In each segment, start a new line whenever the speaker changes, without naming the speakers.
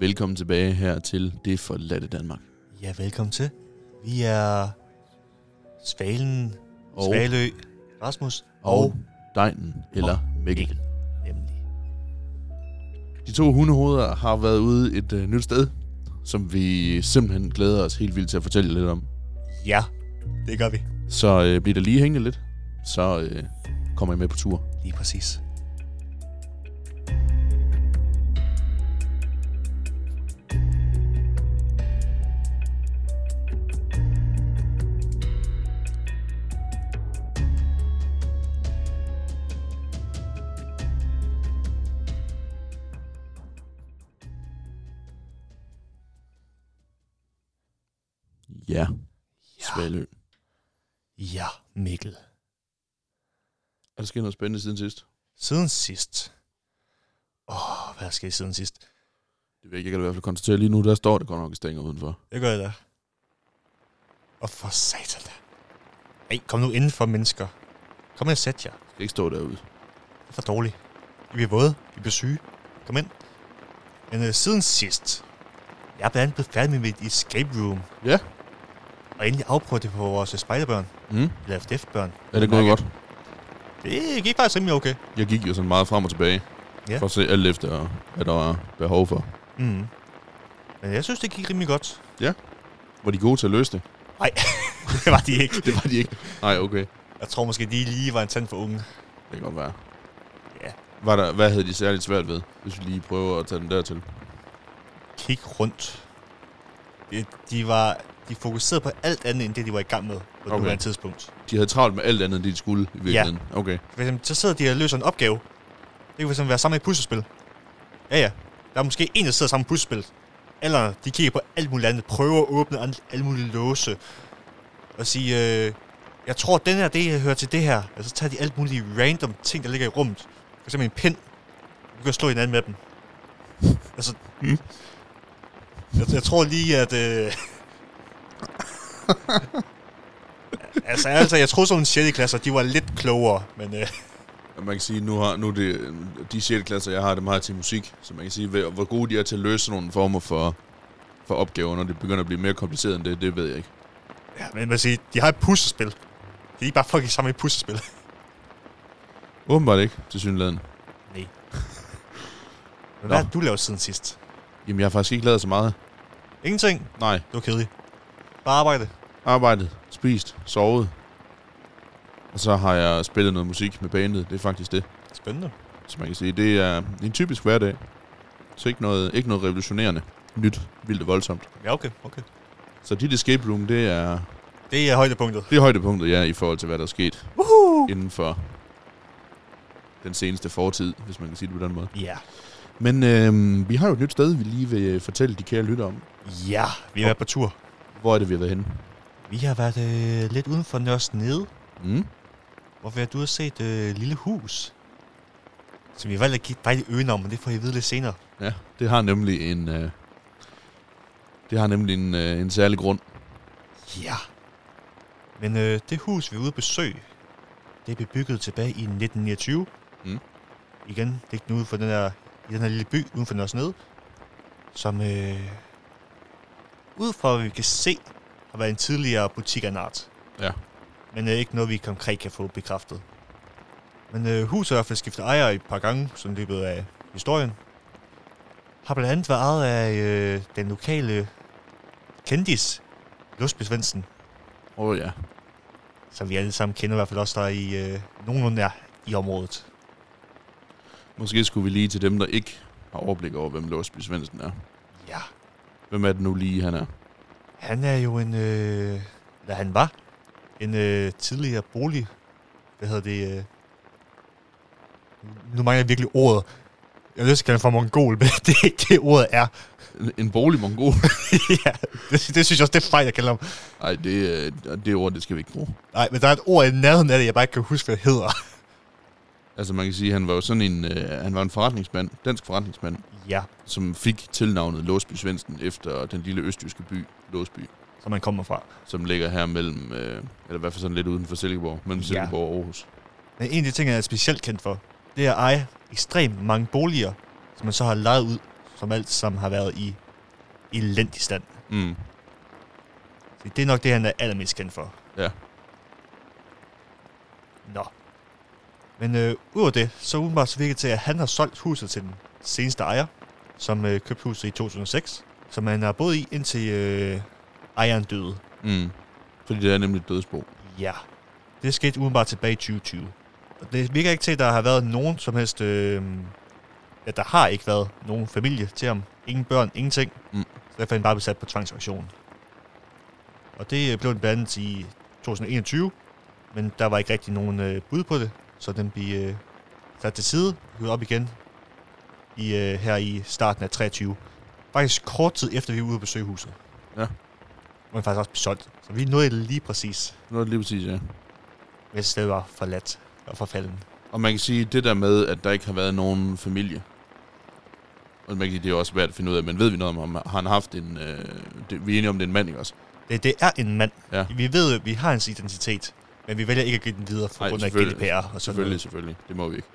Velkommen tilbage her til Det forladte Danmark.
Ja, velkommen til. Vi er Svalen,
Og-
og Svalø, Rasmus
Og Dejnen, eller Mikkel.
nemlig.
De to hundehoveder har været ude et øh, nyt sted, som vi simpelthen glæder os helt vildt til at fortælle jer lidt om.
Ja, det gør vi.
Så øh, bliver der lige hængende lidt, så øh, kommer I med på tur.
Lige præcis.
Ja, Svalø.
Ja, Mikkel.
Er der sket noget spændende siden sidst?
Siden sidst. Åh, oh, hvad skal jeg siden sidst?
Det ved jeg ikke, jeg kan i hvert fald konstatere lige nu, der står det godt nok i stænger udenfor.
Det gør jeg da. Og for satan da. Ej, kom nu indenfor, mennesker. Kom ind og sæt jer.
Jeg skal ikke stå derude.
Det er for dårligt. I bliver våde. I bliver syge. Kom ind. Men øh, siden sidst, jeg er blandt andet blevet færdig med mit escape room.
Ja.
Og endelig afprøvet det på vores øh, spejderbørn.
Mm.
Eller FDF-børn.
Er det gået
Mærke.
godt?
Det gik faktisk rimelig okay.
Jeg gik jo sådan meget frem og tilbage.
Ja.
For at se alt efter, hvad der var behov for.
Mm. Men jeg synes, det gik rimelig godt.
Var de gode til at løse det?
det var de ikke.
Det var de ikke. Nej, okay.
Jeg tror måske, de lige var en tand for unge.
Det kan godt være.
Ja.
Var der, hvad havde de særligt svært ved, hvis vi lige prøver at tage den dertil?
Kig rundt. De, de var de fokuserede på alt andet, end det, de var i gang med på okay.
Okay.
nuværende tidspunkt.
De havde travlt med alt andet, end det de skulle i virkeligheden. Ja. Okay.
For eksempel, så sidder de og løser en opgave. Det kan for eksempel være sammen i et puslespil. Ja, ja. Der er måske en, der sidder sammen i et puslespil. Eller de kigger på alt muligt andet, prøver at åbne alt- alle mulige låse. Og sige, øh, jeg tror, den her, det hører til det her. Og så tager de alt mulige random ting, der ligger i rummet. For eksempel en pind. Du kan slå hinanden med dem. Altså, jeg, jeg tror lige, at... Øh, altså, altså, jeg tror sådan 6. klasser, de var lidt klogere, men... Øh,
Og Man kan sige, nu har nu er det, de 6. klasser, jeg har, dem har jeg til musik. Så man kan sige, hvor hvor gode de er til at løse nogle former for, for opgaver, når det begynder at blive mere kompliceret end det, det ved jeg ikke.
Ja, men man siger, de har et puslespil. De er ikke bare fucking sammen i et puslespil.
Åbenbart ikke, til synligheden.
Nej. men
Nå.
hvad har du lavet siden sidst?
Jamen, jeg har faktisk ikke lavet så meget.
Ingenting.
Nej,
Det var kedeligt. Bare arbejde.
arbejdet, spist, sovet. Og så har jeg spillet noget musik med bandet. Det er faktisk det.
Spændende.
Så man kan sige, det er en typisk hverdag. Så ikke noget, ikke noget revolutionerende, nyt, vildt og voldsomt.
Ja, okay, okay.
Så dit escape room, det er,
Det er højdepunktet.
det er højdepunktet, ja, i forhold til, hvad der er sket
Woohoo!
inden for den seneste fortid, hvis man kan sige det på den måde.
Ja.
Men øh, vi har jo et nyt sted, vi lige vil øh, fortælle de kære lytter om.
Ja, vi har været på tur.
Hvor er det, vi har været henne?
Vi har været øh, lidt uden for Nørres Nede,
Mm?
hvor vi har du har set øh, Lille Hus. Så vi har valgt at give et dejligt øgenavn, men det får I at vide lidt senere.
Ja, det har nemlig en... Øh, det har nemlig en, øh, en særlig grund.
Ja. Men øh, det hus, vi er ude at besøge, det er bebygget tilbage i 1929.
Mm.
Igen, liggende ude for den her, i den her lille by uden for Nørresnede, som øh, ud fra, hvad vi kan se, har været en tidligere butik af en art.
Ja.
Men øh, ikke noget, vi konkret kan få bekræftet. Men øh, huset har i hvert fald skiftet ejer et par gange, sådan i løbet af historien. Har blandt andet været ejet af øh, den lokale kendis, Lusby Svendsen
Åh oh, ja.
som vi alle sammen kender, i hvert fald også der er i øh, nogenlunde er i området.
Måske skulle vi lige til dem, der ikke har overblik over, hvem Låsby Svendsen er.
Ja.
Hvem er det nu lige, han er?
Han er jo en, øh, eller han var, en øh, tidligere bolig, hvad hedder det, øh, nu mangler jeg virkelig ordet. Jeg vil lyst til at kalde ham for mongol, men det er ikke det, ordet er.
En- En bolig mongol?
ja, det, det, synes jeg også, det er fejl, jeg kalder ham.
Nej, det, øh, det ord, det skal vi ikke bruge.
Nej, men der er et ord i nærheden af det, jeg bare ikke kan huske, hvad det hedder.
Altså man kan sige, han var jo sådan en, øh, han var en forretningsmand, dansk forretningsmand,
ja,
som fik tilnavnet Låsby Svendsen efter den lille østjyske by Låsby,
som man kommer fra.
som ligger her mellem, øh, eller i hvert fald sådan lidt uden for Silkeborg, mellem
Ja.
Silkeborg og Aarhus.
Men en af de ting, jeg er specielt kendt for, det er at eje ekstremt mange boliger, som man så har lejet ud, så formelt, som har været i elendig stand.
Mm.
Så det er nok det, han er allermest kendt for.
Ja.
Nå. Men øh, udover det, så udenbart så virker det til, at han har solgt huset til den seneste ejer, som øh, købte huset i 2006, som han har boet i indtil øh, ejeren døde.
Mm. Fordi det er nemlig et dødsbo.
Ja. Det skete udenbart tilbage i 2020. Og det virker ikke til, at der har været nogen som helst... Øh, at der har ikke været nogen familie til ham. Ingen børn, ingenting.
Mm.
Så derfor er han bare blevet sat på tvangsauktion. Og det øh, blev den blandt andet i 2021, men der var ikke rigtig nogen øh, bud på det, så den blev øh, sat til side, hivet op igen i, øh, her i starten af 23. Faktisk kort tid efter, vi var ude at besøge huset.
Ja.
Hvor den faktisk også blev solgt. Så vi nåede det lige præcis
Nu er det lige præcis, ja.
hvis det var forladt og forfalden.
Og man kan sige, det der med, at der ikke har været nogen familie, og man kan sige, det er jo også svært at finde ud af, men ved vi noget om ham? Har han haft en... Øh, det, vi er enige om, det er en mand, ikke også?
Det, det er en mand.
Ja.
Vi ved, jo, vi har hans identitet, men vi vælger ikke at give den videre for
Nej,
grund af
selvfølgelig.
GDPR og sådan
Selvfølgelig,
noget.
selvfølgelig. Det må vi ikke.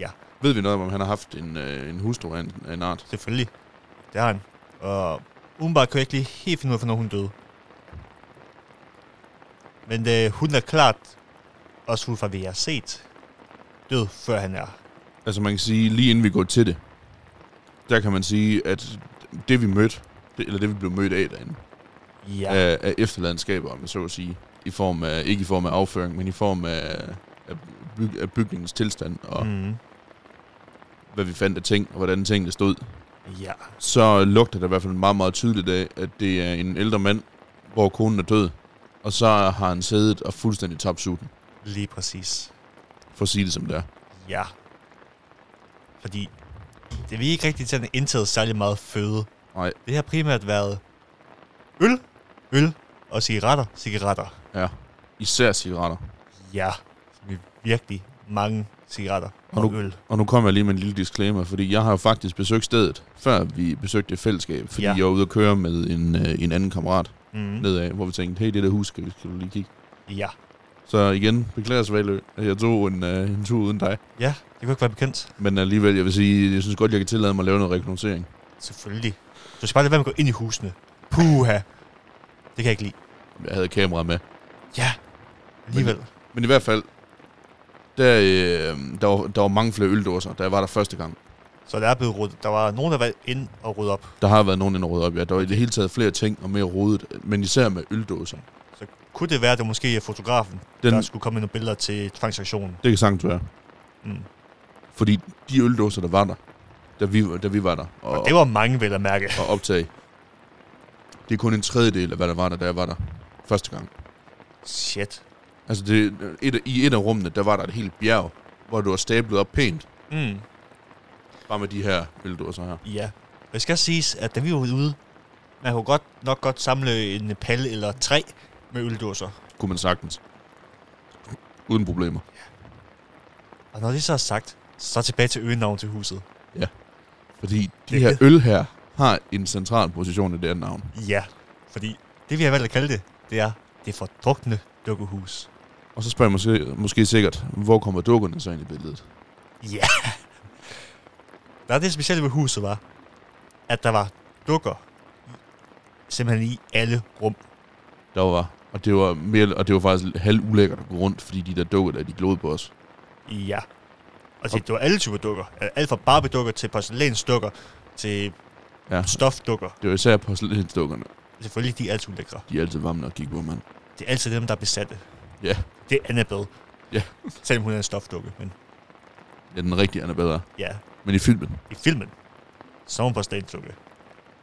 Ja.
Ved vi noget om, om han har haft en, øh, en hustru af en, af en art?
Selvfølgelig. Det har han. Og umiddelbart kunne jeg ikke lige helt finde ud af, hvornår hun døde. Men øh, hun er klart, også ud fra hvad jeg har set, død før han er.
Altså man kan sige, lige inden vi går til det, der kan man sige, at det vi mødte, det, eller det vi blev mødt af derinde,
Ja.
ja.
Øh.
af, af efterladenskaber, om jeg så at sige, i form af, ikke i form af afføring, men i form af, af, byg, af bygningens tilstand, og mm.
Mm.
hvad vi fandt af ting, og hvordan tingene stod,
Ja.
så lugter der i hvert fald meget, meget tydeligt af, at det er en ældre mand, hvor konen er død, og så har han siddet og fuldstændig tabt sutten,
Lige præcis.
for at sige det som det er.
Ja. Fordi det vi ikke rigtig til, at han indtaget særlig meget føde.
Nej.
Det har primært været øl, øl og cigaretter, cigaretter.
Ja. Især cigaretter.
Ja, så vi virkelig mange cigaretter
Og
og,
nu-
øl.
Og nu kommer jeg lige med en lille disclaimer, fordi jeg har jo faktisk besøgt stedet, før vi besøgte et fællesskab, fordi ja.
Ja.
jeg var ude at køre med en, øh, en anden kammerat
Mm.
nedad, hvor vi tænkte, hey, det der hus, skal vi, skal vi lige kigge.
Ja,
Så igen, beklager Svalø, at jeg tog en, øh, en tur uden dig.
ja, det kunne ikke være bekendt.
Men alligevel, jeg vil sige, jeg synes godt, jeg kan tillade mig at lave noget rekognosering.
Selvfølgelig. Du skal bare lade være med at gå ind i husene. Puha. Det kan jeg ikke lide.
Jeg havde kameraet med.
Ja, alligevel.
Men i hvert fald, der, øh, der, var, der var mange flere øldåser, da jeg var der første gang.
Så der er blevet ryddet. Der var nogen, der var inde og rydde op.
Der har været nogen, der ryddet op. Ja, der var i det hele taget flere ting og mere rodet, men især med øldåser.
Så kunne det være, at det måske er fotografen, Den...
Den,
der skulle komme med nogle billeder til transaktionen.
Det kan sagtens være.
Mm.
Fordi de øldåser, der var der, da vi, da vi var der og,
Og det var mange, vel at mærke.
og optage, det er kun en tredjedel af, hvad der var der, da jeg var der første gang.
Shit.
Altså det, et, af- i et af rummene, der var der et helt bjerg, hvor du var stablet op pænt,
Mm.
bare med de her øldåser her.
Ja. Og det skal siges, at da vi var ude, man kunne godt, nok godt samle en palle eller tre med øldåser.
Kunne man sagtens. Uden problemer.
Og når det så er sagt, så tilbage til øgenavn til huset.
Fordi de
Det-
her øl her har en central position i det her navn.
Ja, fordi det vi har valgt at kalde det, det er det fordrukne dukkehus.
Og så spørger jeg måske, måske sikkert, hvor kommer dukkerne så ind i billedet?
Ja. Der er det specielle ved huset var, at der var dukker simpelthen i alle rum.
der var. Og det var, mere, og det var faktisk halv ulækkert at gå rundt, fordi de der dukker der, de glod på os.
Ja. Og det, det var alle typer dukker. Alt fra barbiedukker til porcelænsdukker til
Ja,
stofdukker.
det var især porcelænsdukkerne.
Selvfølgelig, de er altid lækre.
De er altid varme nok at kigge på, mand.
Det er altid dem, der er besatte.
Ja.
Det er Annabelle.
Ja.
Selvom hun er en stofdukke, men
Ja, den rigtige er bedre.
ja,
Men i filmen.
i filmen, så er hun bare stadig en dukke.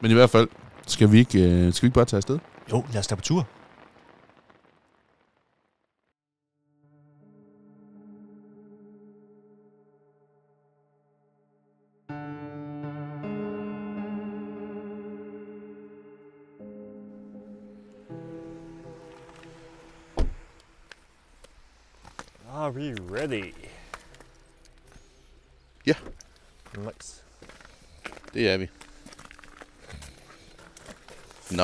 Men i hvert fald, skal vi ikke, øh, skal vi ikke bare tage afsted?
Jo, lad os tage på tur.
Are we ready?
Ja.
Nice.
Det er vi. Nå.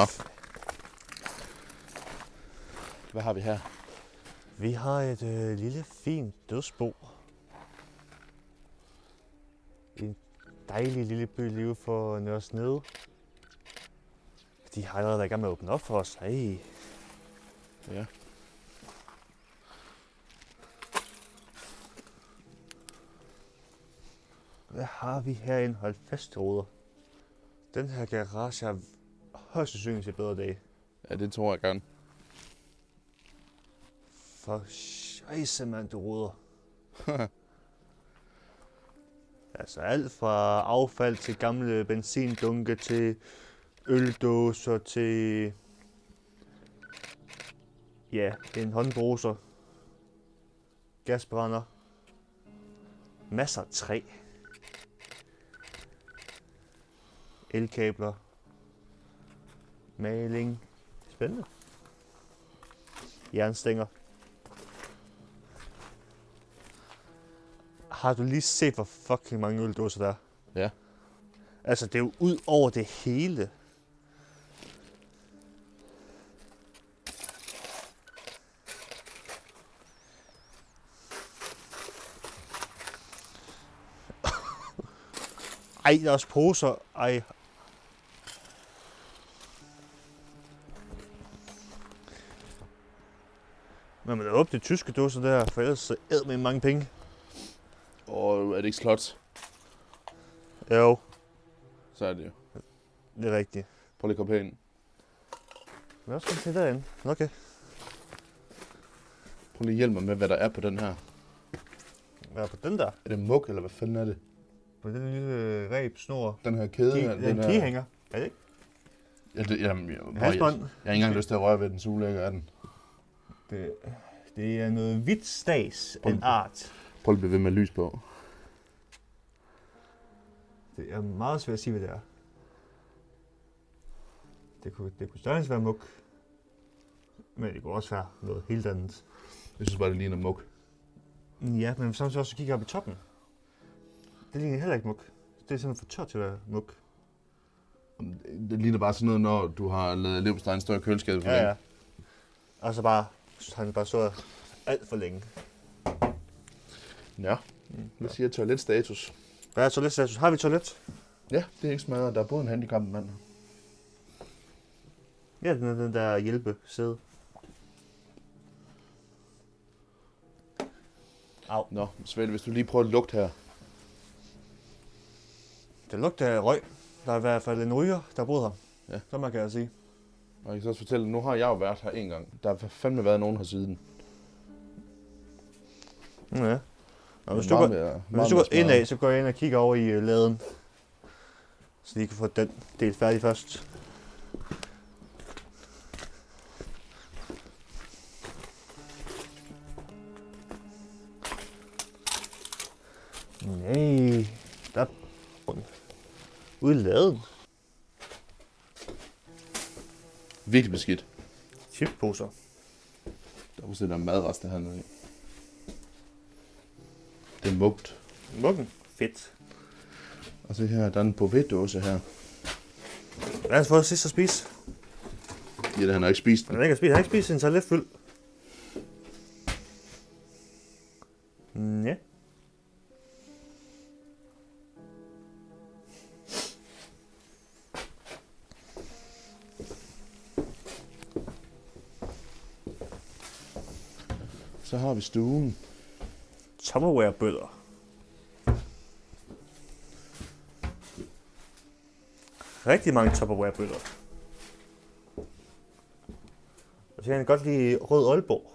Hvad har vi her?
Vi har et øh, lille fint dødsbo. En
dejlige lille by lige ude for Nørres Nede. De har allerede været i gang med at åbne op for os. Hey.
Ja.
Hvad har vi herinde? Hold fast, Roder. Den her garage har højst sandsynligt set bedre dage.
Ja, det tror jeg gerne.
For scheisse, mand, du roder. altså alt fra affald til gamle benzindunke til øldåser til... Ja, en håndbruser. Gasbrænder. Masser af træ. Elkabler. Maling. Spændende. Jernstænger. Har du lige set, hvor fucking mange øldåser der er?
Ja.
Altså, det er jo ud over det hele. Ej, der er også poser. Ej. Men man er op til tyske dåser der, for ellers så æd med mange penge.
Og er det ikke slot,
Jo,
så er det jo.
det er rigtigt.
Prøv lige at komme herind.
Men også til derinde. Okay.
Prøv lige at hjælpe mig med, hvad der er på den her.
Hvad er på den der?
Er det muk, eller hvad fanden er det?
På den lille reb, snor.
Den her kæde
Ki-
her,
den
her-
kigehænger. Er det ikke?
Ja, det, jamen, jeg, jeg, jeg,
halsbånd.
jeg, har ikke engang lyst til at røre ved den, så ulækker er den.
Det, det er noget hvidt stads
Prøv-
en art.
Prøv lige at blive ved med lys på.
Det er meget svært at sige, hvad det er. Det kunne, det kunne størrelse være muk. Men det kunne også være noget helt andet.
Jeg synes bare, det ligner muk.
Ja, men samtidig også kigger op i toppen. Det ligner heller ikke muk. Det er simpelthen for tørt til at være muk.
Det ligner bare sådan noget, når du har lavet levstein større køleskab for
Ja, ja.
længe.
Og så bare, han bare så alt for længe.
ja. Hvad siger toiletstatus?
Hvad er toiletstatus? Har vi toilet?
Ja, det er ikke smadret. Der er både en handicap mand.
Ja, den, er den der hjælpe sæde. Au.
Nå, Svend, hvis du lige prøver at lugte her.
Det lugter af røg. Der er i hvert fald en ryger, der boede her.
Ja.
Så man kan jeg sige.
Og jeg kan så også fortælle, nu har jeg jo været her en gang. Der har fandme været nogen her siden.
Ja. Og hvis
Det
du
er
går,
meget mere-
hvis
meget
du
mere
går
smadret.
indad, så går jeg ind og kigger over i øh, laden. Så de kan få den del færdig først. Nej, der er ude i laden.
Virkelig beskidt.
Chipposer.
Der er udstedt der er madrester hernede i. Det er mugt.
Mukken. Fedt.
Og se her, der er en bovetdåse her.
Lad os få det sidste at spise.
Ja, han har ikke spist den.
Han har ikke spist, han har ikke spist sin toilet fyldt. Ja.
Så har vi stuen.
Tupperware-bøller. Rigtig mange Tupperware-bøller. Og så kan jeg godt lide Rød Aalborg.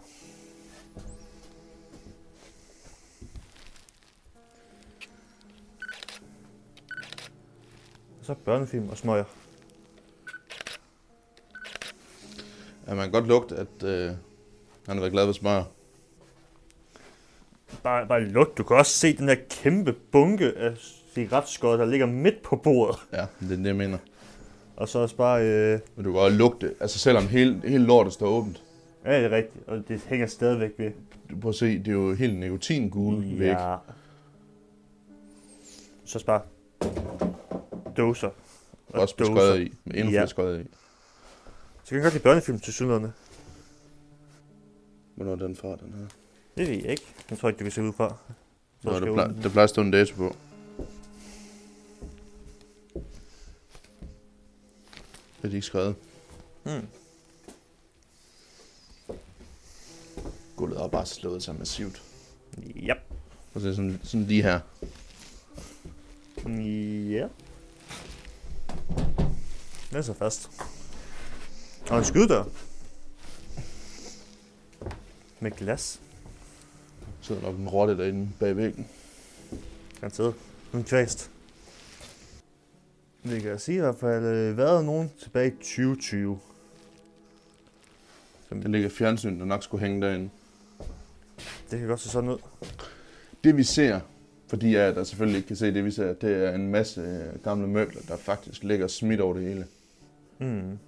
Og så børnefilm og smøger.
Ja, man kan godt lugte, at øh, han har været glad ved smør.
Bare, bare lugt. Du kan også se den der kæmpe bunke af cigaretskod, der ligger midt på bordet.
Ja, det er det, jeg mener.
Og så også bare... Øh,
Men du kan godt lugte, altså selvom hele, hele lortet står åbent.
ja, det er rigtigt. Og det hænger stadigvæk ved.
Du prøver at se, det er jo helt nikotingule ja. væk.
Ja. Så også bare... Dåser.
Og også med skodder i. Med endnu
Ja.
flere skodder i.
Så kan jeg godt lide børnefilm til synligheden.
Hvornår er den fra, den her?
Det ved jeg ikke. Den tror jeg ikke, du kan se ud fra. Så
Nå,
skal
der,
jeg
plejer,
åbne den.
der plejer at stå en dato på. Det er de ikke skrevet.
Hmm.
Gulvet har bare slået sig massivt.
Yep.
Og så er det sådan, sådan lige her.
Yep.
Den er så fast.
Og en skydedør.
Med glas.
Så er der nok en rotte derinde bag væggen.
Garanteret. Nu er kvæst. Vi kan sige i hvert fald, øh, været nogen tilbage i 2020.
Den ligger i fjernsynet, der nok skulle hænge derinde.
Det kan godt se sådan ud.
Det vi ser, fordi jeg der selvfølgelig ikke kan se det vi ser, det er en masse øh, gamle møbler, der faktisk ligger smidt over det hele.
Mm.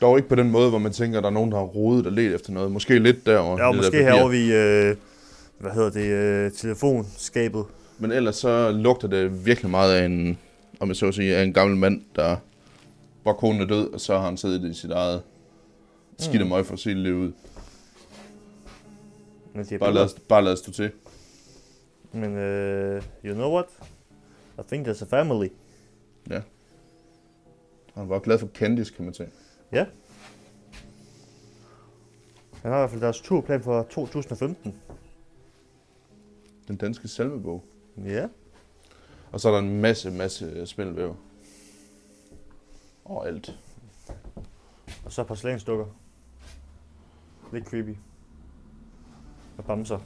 Dog ikke på den måde, hvor man tænker, at der er nogen, der har rodet og let efter noget. Måske lidt derovre.
Ja, og
det der
måske
papir.
herovre vi, øh, hvad hedder det, øh, telefonskabet.
Men ellers så lugter det virkelig meget af en, om jeg så at sige, af en gammel mand, der, hvor konen er død, og så har han siddet i sit eget skidte
Mm.
møg for at se det liv ud.
Men, de
Bare lad,
har billeder.
os- bare lad os stå til.
Men øh, you know what? I think there's a family.
Han var glad for Candice, kan man sige.
Han har i hvert fald deres turplan for 2015.
Den danske salmebog.
Ja.
Og så er der en masse, masse spindelvæv. Og alt.
Og så porcelænsdukker. Lidt creepy. Og bamser.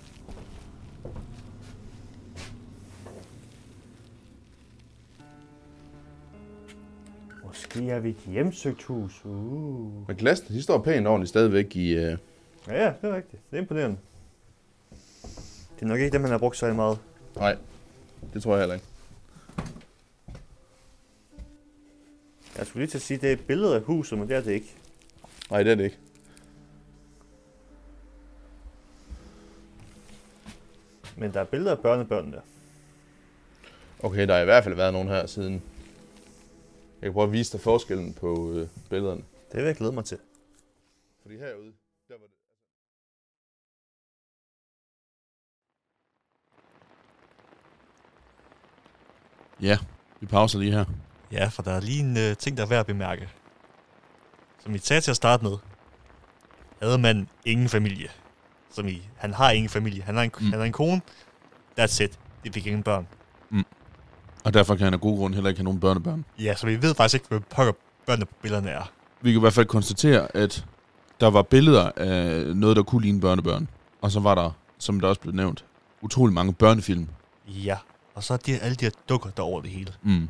Måske er vi et hjemsøgt hus. Uh.
Men glassene, de står pænt ordentligt stadigvæk i... Øh,
Ja, ja, det er rigtigt. Det er imponerende. Det er nok ikke dem, han har brugt så meget.
nej, det tror jeg heller ikke.
Jeg skulle lige til at sige, det er et billede af huset, men det er det ikke.
Nej, det er det ikke.
Men der er billeder af børnebørnene.
Okay, der har i hvert fald været nogen her siden. Jeg kan prøve at vise dig forskellen på øh, billederne.
Det vil jeg glæde mig til.
Fordi herude, der var det... Ja, vi pauser lige her.
Ja, for der er lige en øh, ting, der er værd at bemærke. Som vi sagde til at starte med, havde man ingen familie. Som i, han har ingen familie. Han har en, mm. han har en kone. That's it. De fik ingen børn.
Og derfor kan han af god grund heller ikke have nogen børnebørn.
Ja, så vi ved faktisk ikke, hvad pokker børnene på billederne er.
Vi kan i hvert fald konstatere, at der var billeder af noget, der kunne ligne børnebørn. Og så var der, som der også blev nævnt, utrolig mange børnefilm.
Ja, og så er de, alle de her dukker der over det hele.
Mm.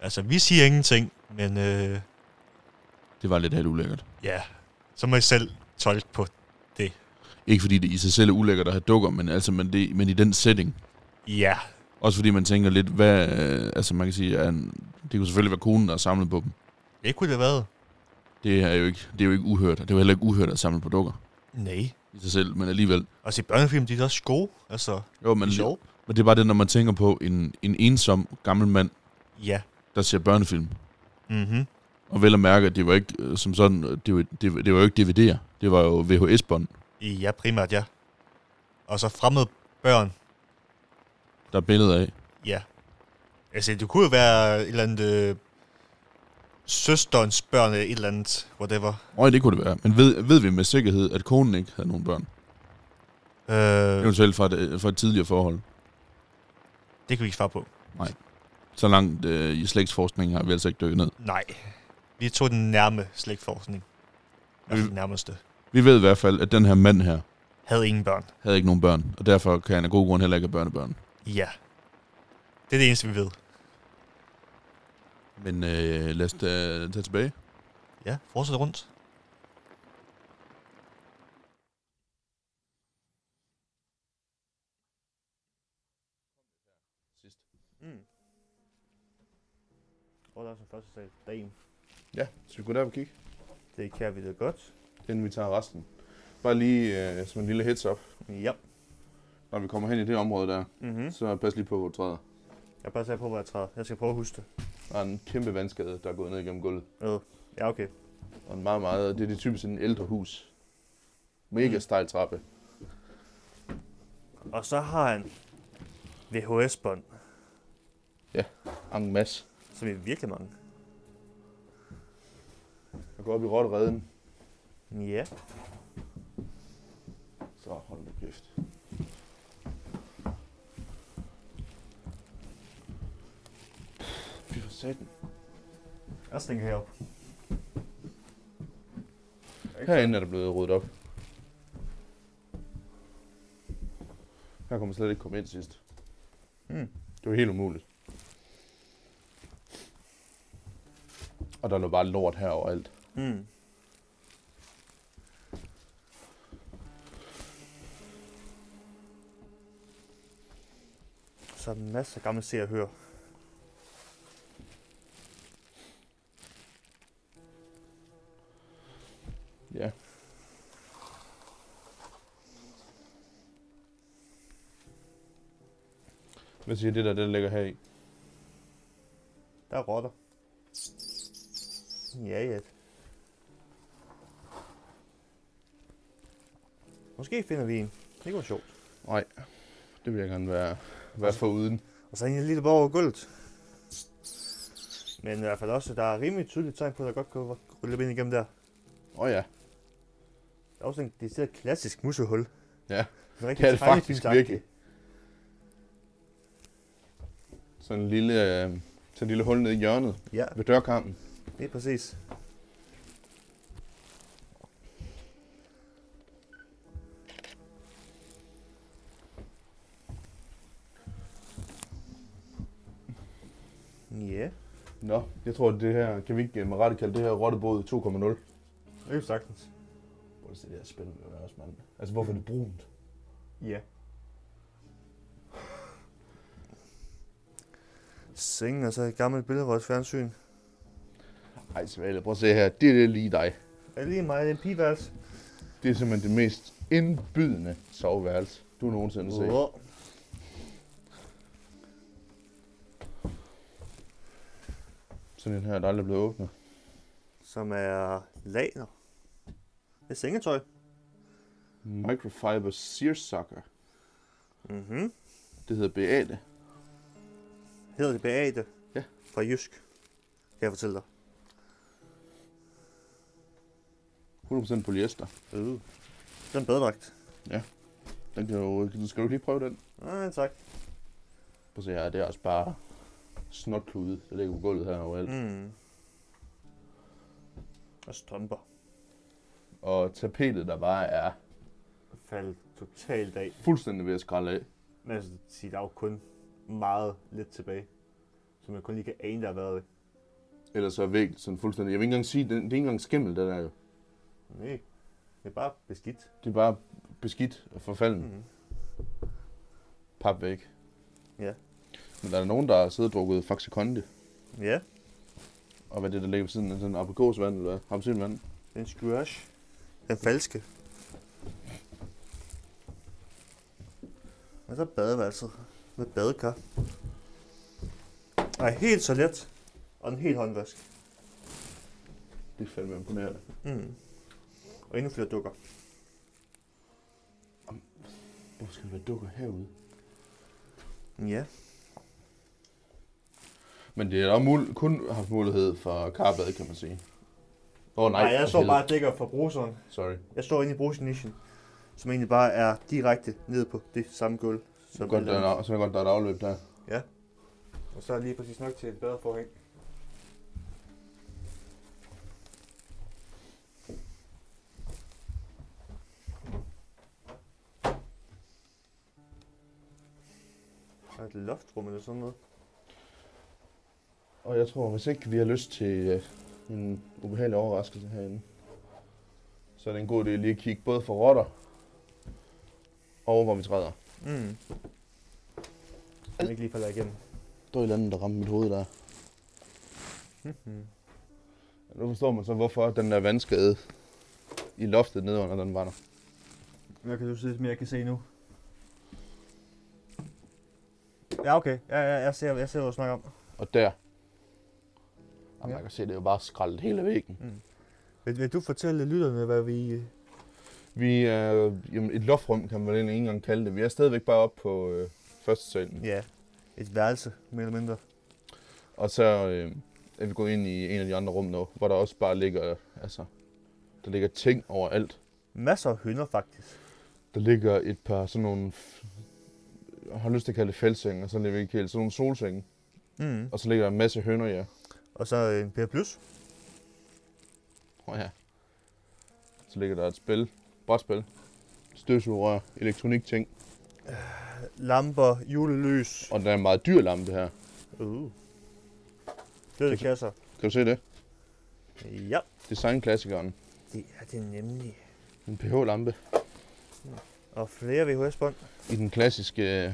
Altså, vi siger ingenting, men øh,
Det var lidt helt ulækkert.
ja, så må I selv tolke på.
Ikke fordi det i sig selv er ulækkert at have dukker, men, altså, men, det, men i den setting.
Ja,
Også fordi man tænker lidt, hvad... øh, Altså man kan sige, at en- det kunne selvfølgelig være konen, der har samlet på dem.
det kunne det have været.
Det er jo ikke, det er jo ikke uhørt. og Det er jo heller ikke uhørt at samle på dukker
Nej.
i sig selv, men alligevel.
Og se børnefilm, de er da også gode. Altså,
Jo, men,
de er sjove.
men det er bare det, når man tænker på en, en ensom gammel mand,
Ja.
der ser børnefilm.
Mhm.
Og vel at mærke, at det var ikke øh, som sådan, øh, det var, det, var- det var jo ikke DVD'er. Det var jo VHS-bånd,
Ja, primært, ja. Og så fremmede børn.
der er billeder af.
Ja. Altså, det kunne jo være et eller andet... Øh, søsterens børn eller et eller andet, whatever.
Og det kunne det være. Men ved, ved vi med sikkerhed, at konen ikke havde nogen børn?
Øh,
Eventuelt fra et, fra et tidligere forhold.
det kan vi ikke svare på.
Så langt øh, i slægtsforskningen har vi altså ikke dykket ned.
Nej. Vi tog den nærme slægtforskning. Altså
Vi-
den nærmeste.
Vi ved i hvert fald, at den her mand her
Havde ingen børn.
havde ikke nogen børn, og derfor kan han af god grund heller ikke have børnebørn.
Ja. Det er det eneste, vi ved.
Men øh, lad os da tage tilbage.
Ja, fortsæt rundt.
Mm. Og der er som første sal. Damn.
Ja, så vi går derop og kigge,
Det kan vi da godt.
inden vi tager resten. Bare lige øh, som en lille heads up.
Ja.
Når vi kommer hen i det område der,
Mm-hmm.
så pas lige på, hvor du træder.
Jeg passer på, hvor jeg træder. Jeg skal prøve at huske det.
Der er en kæmpe vandskade, der er gået ned igennem gulvet.
Øh. Ja, okay.
Og en meget, meget, det er det typisk en ældre hus. Mega stejl trappe.
Og så har han VHS-bånd,
En masse.
som er virkelig mange.
Jeg går op i rottereden.
Ja.
Så hold nu kæft. Fy for satan.
Jeg stinker herop.
Herinde er der blevet ryddet op. Her kunne man slet ikke komme ind sidst.
Mm.
Det var helt umuligt. Og der lå bare lort her overalt.
Mm.
Så er der masser af gamle se og høre.
Ja. Hvad siger det der, det der ligger her i?
Der er rotter. Ja, ja. Måske finder vi en. Det kunne være sjovt.
Nej, det vil jeg gerne være, være for uden.
Og så er en lille borg over gulvet. Men i hvert fald også, der er rimelig tydeligt tegn på, at der godt kan rulle ind igennem der.
Åh oh, ja,
Der er også en det er et klassisk musehul.
ja.
Det er,
Det er det faktisk virkelig. Sådan en lille, øh, sådan en lille hul nede i hjørnet
Ja,
ved dørkarmen.
det er præcis. Ja,
Nå, jeg tror, det her, kan vi ikke øh, med rette kalde det her rottebåd 2.0?
det er sagtens.
Prøv at se det her spil, det er også, mand. Altså, hvorfor er det brunt?
Ja. Sengen er så et gammelt billedrødt fjernsyn.
Ej, Svale, prøv at se her. Det, det er lige dig.
Er det lige mig, det er en pigeværelse?
Det er simpelthen det mest indbydende soveværelse, du nogensinde har set.
Wow.
Sådan en her, der aldrig er blevet åbnet.
Som er laner. Det er sengetøj.
Microfiber seersucker.
Mhm.
Det hedder Beate.
Hedder det Beate?
Ja.
Fra Jysk. Kan jeg fortælle dig.
100% polyester.
Øh. Det er en badedragt.
Den kan jo, den skal du ikke lige prøve den?
Nej, tak.
Prøv at se her, det er også bare snotklude, der ligger på gulvet her overalt. Mm.
Mm. Og strømper.
Og tapetet, der bare er
Faldet totalt af.
fuldstændig ved at skralde af.
Men altså, sige, der er jo kun meget lidt tilbage. Som jeg kun lige kan ane, der har været.
Ellers så er væggen sådan fuldstændig... Jeg vil ikke engang sige, det, det er ikke engang skimmel, den er jo.
Nej. Det er bare beskidt.
Det er bare beskidt og forfalden. Mm.
Mhm.
Papvæg.
Ja.
Men der er nogen, der har siddet og drukket Faxe Kondi.
Ja.
Og hvad er det, der ligger ved siden af sådan en aprikosvand, eller hvad? Appelsinvand.
Det er en squash. Den falske. Og så badeværelset med badekar. Og helt toilet. Og en helt håndvask.
Det er fandme imponerende.
Mm. Og endnu flere dukker.
Hvorfor skal der være dukker herude?
Ja.
Men det er da mul- kun haft mulighed for karbad, kan man sige. Åh oh, nej.
Nej, jeg
for
står
helvede.
bare og dækker for bruseren.
Sorry.
Jeg står inde i brusenischen, som egentlig bare er direkte ned på det samme gulv.
Så
som
er godt,
alt
der
andet.
er, så er godt, der er et afløb der.
Og så er lige præcis nok til et bedre forhæng. Og et loftrum eller sådan noget.
Og jeg tror, hvis ikke vi har lyst til øh, en ubehagelig overraskelse herinde, så er det en god idé lige at kigge både for rotter og hvor vi træder.
Mm. Kan ikke lige falder igennem.
Der er et eller andet, der ramte mit hoved der. nu forstår man så, hvorfor den der vandskade i loftet nedenunder, den var der.
Hvad kan du se, som jeg kan se nu? Ja, okay. Ja, ja, jeg ser, jeg ser, hvad du snakker om.
Og der. Jamen,
Ja.
man kan se, det er jo bare skraldet hele væggen.
Vil, vil du fortælle lytterne, hvad vi... øh,
Vi er, øh, jamen, et loftrum kan man vel egentlig ikke engang kalde det. Vi er stadigvæk bare oppe på øh, første salen.
Ja. Et værelse, mere eller mindre.
Og så øh, at vi går ind i en af de andre rum nu, hvor der også bare ligger, altså, der ligger ting overalt.
Masser af hønder, faktisk.
Der ligger et par sådan nogle, f- jeg har lyst til at kalde det fældsenge, og så ligger ikke helt, sådan nogle solsenge.
Mm.
Og så ligger der en masse hønder, ja.
Og så øh, en Per Plus.
Oh, ja. Så ligger der et spil, brætspil, støvsugerrør, elektronikting,
Lamper, julelys.
og der er en meget dyr lampe her.
Uh. Døde
Det-
kasser.
Kan du se det?
Ja,
Designklassikeren.
det er det nemlig.
En pH-lampe
Og flere VHS-bånd.
i den klassiske øh,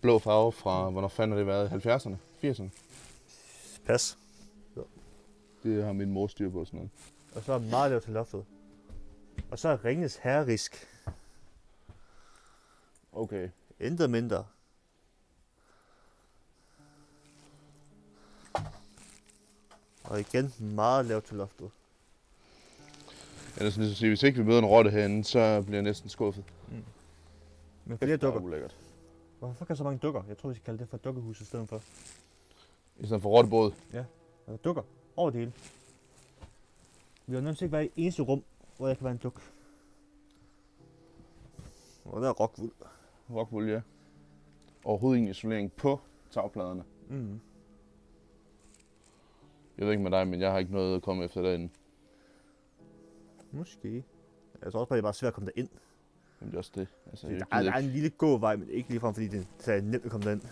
blå farve fra, hvornår fanden har det været? 70'erne? 80'erne?
Pas.
Det har min mor styr på sådan noget.
Og så er meget lavt til loftet. Og så er Ringens herrisk.
Okay.
Intet mindre. Og igen meget lavt til loftet.
Ellers vil jeg sige, hvis ikke vi møder en rotte herinde, så bliver jeg næsten skuffet.
Men flere dukker.
Det er ulækkert.
Hvorfor kan så mange dukker? Jeg tror, vi skal kalde det for dukkehus i stedet for.
I stedet for rottebåd.
Altså dukker over det hele. Vi har nærmest ikke været i et eneste rum, hvor jeg kan være en duk. Og der er rockwool.
Rockwool, ja. Overhovedet ingen isolering på tagpladerne.
Mm.
Jeg ved ikke med dig, men jeg har ikke noget at komme efter derinde.
Måske. Jeg tror også bare, det er bare svært at komme derind.
Jamen, det er også det. Altså, jeg
Det, der, er,
gider
der er en
ikke.
lille gåvej, men ikke ligefrem, fordi det så er nemt at komme derind.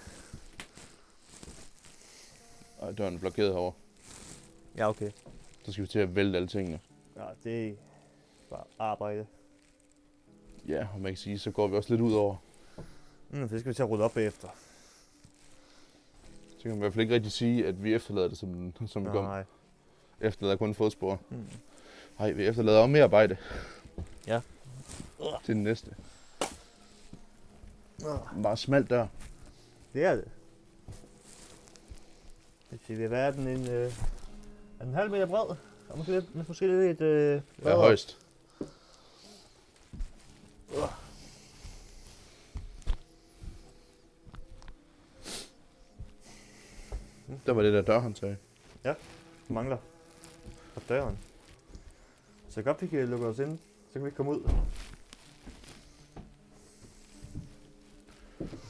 Ej, døren er blokeret herovre.
Ja, okay.
Så skal vi til at vælte alle tingene.
Ja, det er bare arbejde.
Ja, og man kan sige, så går vi også lidt ud over.
Mm, for det skal vi til at rydde op bagefter.
Så kan man i hvert fald ikke rigtig sige, at vi efterlader det, som, som vi kom.
Nej.
Efterlader kun fodspor.
Mm.
Nej, vi efterlader også mere arbejde.
Ja.
Til den næste. Bare smalt der.
Det er det. Hvis vi vil være den en, øh, en halv meter bred, og måske lidt, men måske lidt øh,
Ja,
bredere.
højst. Der var det der dørhåndtag.
mangler på døren. Så godt vi kan lukke os ind, så kan vi ikke komme ud.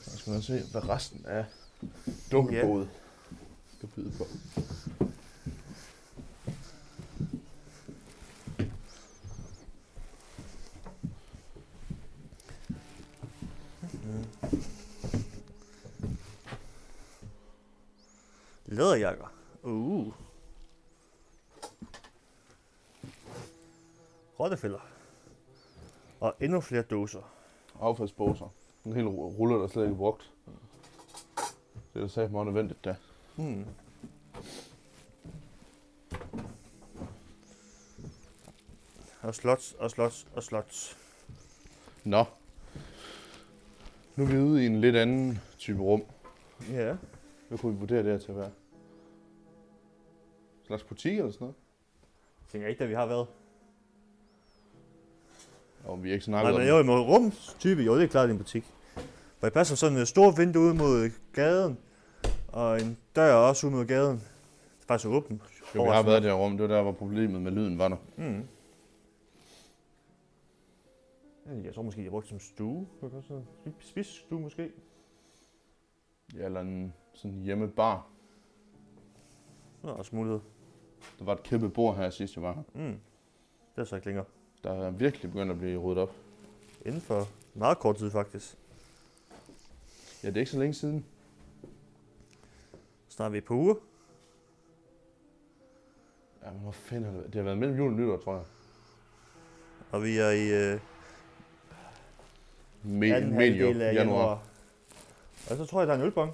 Så skal man se, hvad resten af dukkeboet skal byde på.
Læderjakker. Uh. Rottefælder. Og endnu flere dåser.
Affaldsposer. En hel ru- ruller, der slet ikke er brugt. Det er da sagt meget nødvendigt, da.
Hmm. Og slots, og slots, og slots.
Nå. Nu er vi ude i en lidt anden type rum.
Ja.
Hvad kunne vi vurdere det her til at være? En slags butik eller sådan noget?
Tænker ikke, da vi har været.
Og vi har ikke
Nej,
snakket
men
om
jo, imod rumstype, jo, det er klart, det er en butik. For jeg passer sådan et stort vindue ud mod gaden, og en dør også ud mod gaden. Det er faktisk åbent.
jo, vi har været i det her rum. Det var der, hvor problemet med lyden var der.
Mm. Jeg tror måske, jeg brugte det som stue. Det kan godt sådan- spi- Spisestue måske.
Ja, eller en sådan hjemmebar.
Det er også mulighed.
Der var et kæmpe bord her sidst, jeg var her.
Mm. Det er så ikke længere.
Der er virkelig begyndt at blive ryddet op.
Inden for meget kort tid faktisk.
Ja, det er ikke så længe siden.
Snart er vi på uger.
Ja, men hvor fanden har det været? Det har været mellem jul og nytår, tror jeg.
Og vi er i øh,
Me-
anden
medio
halvdel af januar. Og så tror jeg, der er en ølbong.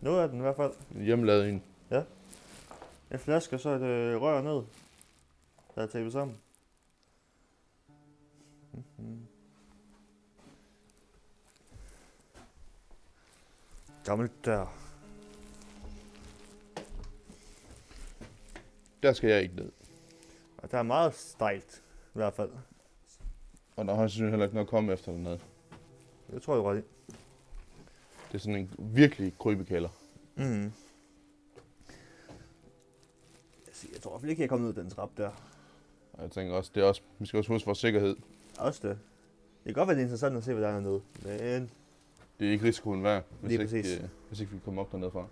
Noget af den i hvert fald.
Hjemmelavet en.
En flaske, og så et øh, rør ned, der er tapet sammen. Mhm. Gammel dør.
Der skal jeg ikke ned.
Og der er meget stejlt, i hvert fald.
Og der har jeg synes heller ikke noget at komme efter dernede.
Det tror jeg, du er ret i.
Mhm.
Det er sådan en virkelig krybekælder.
Mm.
tror i hvert fald ikke, jeg er kommet ud af den trappe der.
Og jeg tænker også, det er også, vi skal også huske vores sikkerhed.
Også det. Det kan godt være, det er interessant at se, hvad der er dernede. Men...
Det er ikke risikoen værd, hvis,
Lige
ikke,
præcis.
øh, hvis ikke vi kommer op dernede fra.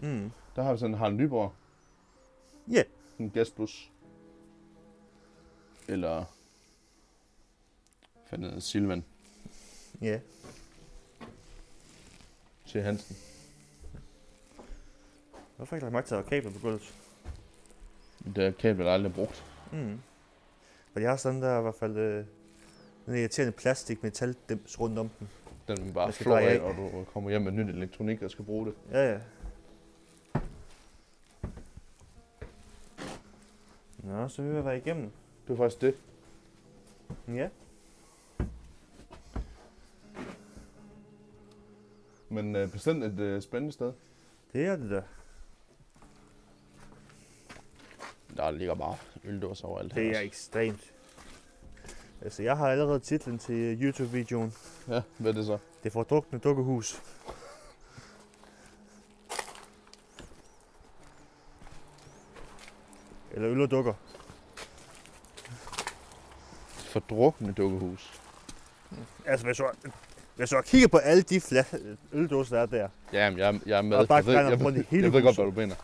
Mm.
Der har vi sådan Harald Nyborg.
Ja.
Sådan En gasbus. Eller... Hvad fanden hedder Silvan
Ja.
til Hansen.
Hvorfor har jeg ikke lagt mærke til, at der er kabler på gulvet?
Men Det er kabel, der aldrig er brugt.
Mm. For jeg har sådan der i hvert fald... Øh, den irriterende plastik metal dims rundt om den.
Den vil bare
Jeg skal
flå
bare
af,
af.
og du kommer hjem med nyt elektronik, og skal bruge det.
Ja, ja. Nå, så er vi ved at være igennem.
Det var faktisk det.
Ja.
Men øh, bestemt et øh, spændende sted.
Det er det der.
Der ligger bare øldåser overalt
Det er ekstremt. Altså, jeg har allerede titlen til øh, YouTube-videoen.
Ja, hvad er det så?
Det fordrukne dukkehus. Eller øl og dukker.
Fordrukne dukkehus.
Altså, hvis du, hvis du har kigget på alle de fla- øldåser, der er der.
Jamen, jeg, jeg er med.
Og bare
jeg ved,
render
jeg,
rundt i hele
jeg ved godt,
huset.
hvad du mener.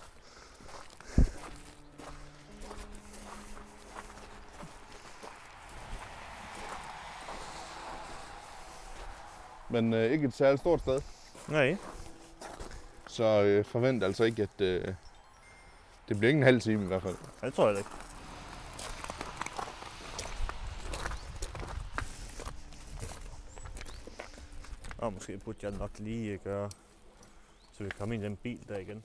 Men øh, ikke et særligt stort sted,
Nej.
så øh, forvent altså ikke, at øh, det bliver ikke en halv time i hvert fald.
Ja, det tror jeg da ikke. Og måske burde jeg nok lige øh, gøre, så vi kommer ind i den bil der igen.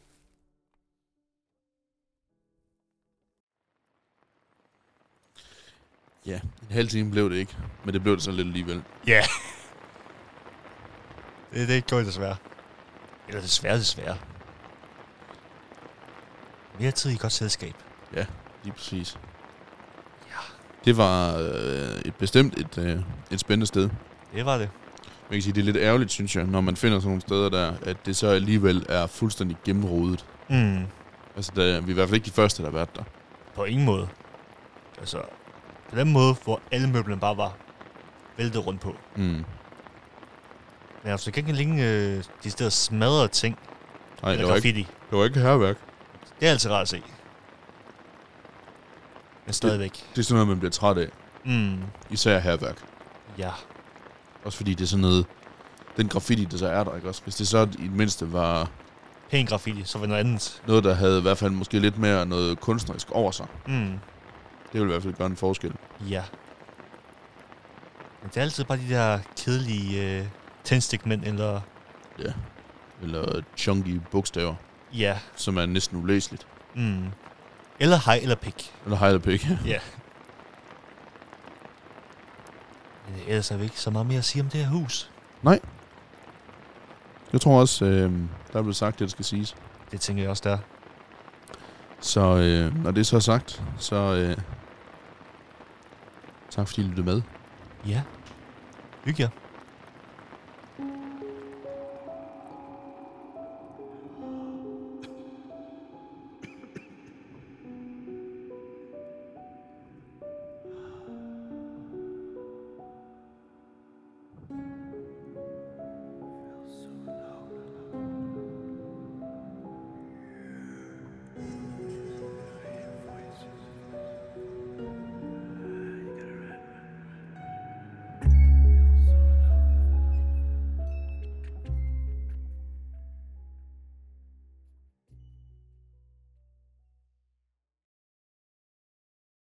Ja, en halv time blev det ikke, men det blev det så lidt alligevel.
Det, det gjorde jeg desværre. Eller desværre, desværre. Mere tid i godt selskab.
Lige præcis. Ja. Det var øh, et bestemt et, øh, et spændende sted.
Det var det.
Man kan sige, det er lidt ærgerligt, synes jeg, når man finder sådan nogle steder der, at det så alligevel er fuldstændig gennemrodet.
Mm.
Altså, der, vi er i hvert fald ikke de første, der har været der.
På ingen måde. Altså, på den måde, hvor alle møblerne bare var væltet rundt på.
Mm.
Men altså, det kan ikke længe øh, de steder smadrede ting, Ej,
Nej, det
eller
var, ikke,
graffiti. Ikke.
det var ikke herværk.
Det er altid rart at se. Men stadigvæk.
Det er sådan noget, man bliver træt af.
Mm,
Især herværk.
ja.
Også fordi det er sådan noget... Den graffiti, der så er der, ikke også? Hvis det så i det mindste var
Pæn graffiti, så var det noget andet.
noget, der havde i hvert fald måske lidt mere noget kunstnerisk over sig.
Mm,
Det ville i hvert fald gøre en forskel.
ja. Men det er altid bare de der kedelige øh, tændstikmænd, eller...
Eller chunky bogstaver,
Ja.
som er næsten ulæseligt.
Mm. Eller hej eller pik.
Eller hej eller pik.
Men Øh, ellers er vi ikke så meget mere at sige om det her hus.
Jeg tror også, øh, der er blevet sagt det, der skal siges.
Det tænker jeg også, der. er.
Så øh, når det er så sagt, så øh, tak fordi I lyttede med.
Ja. Hygge jer.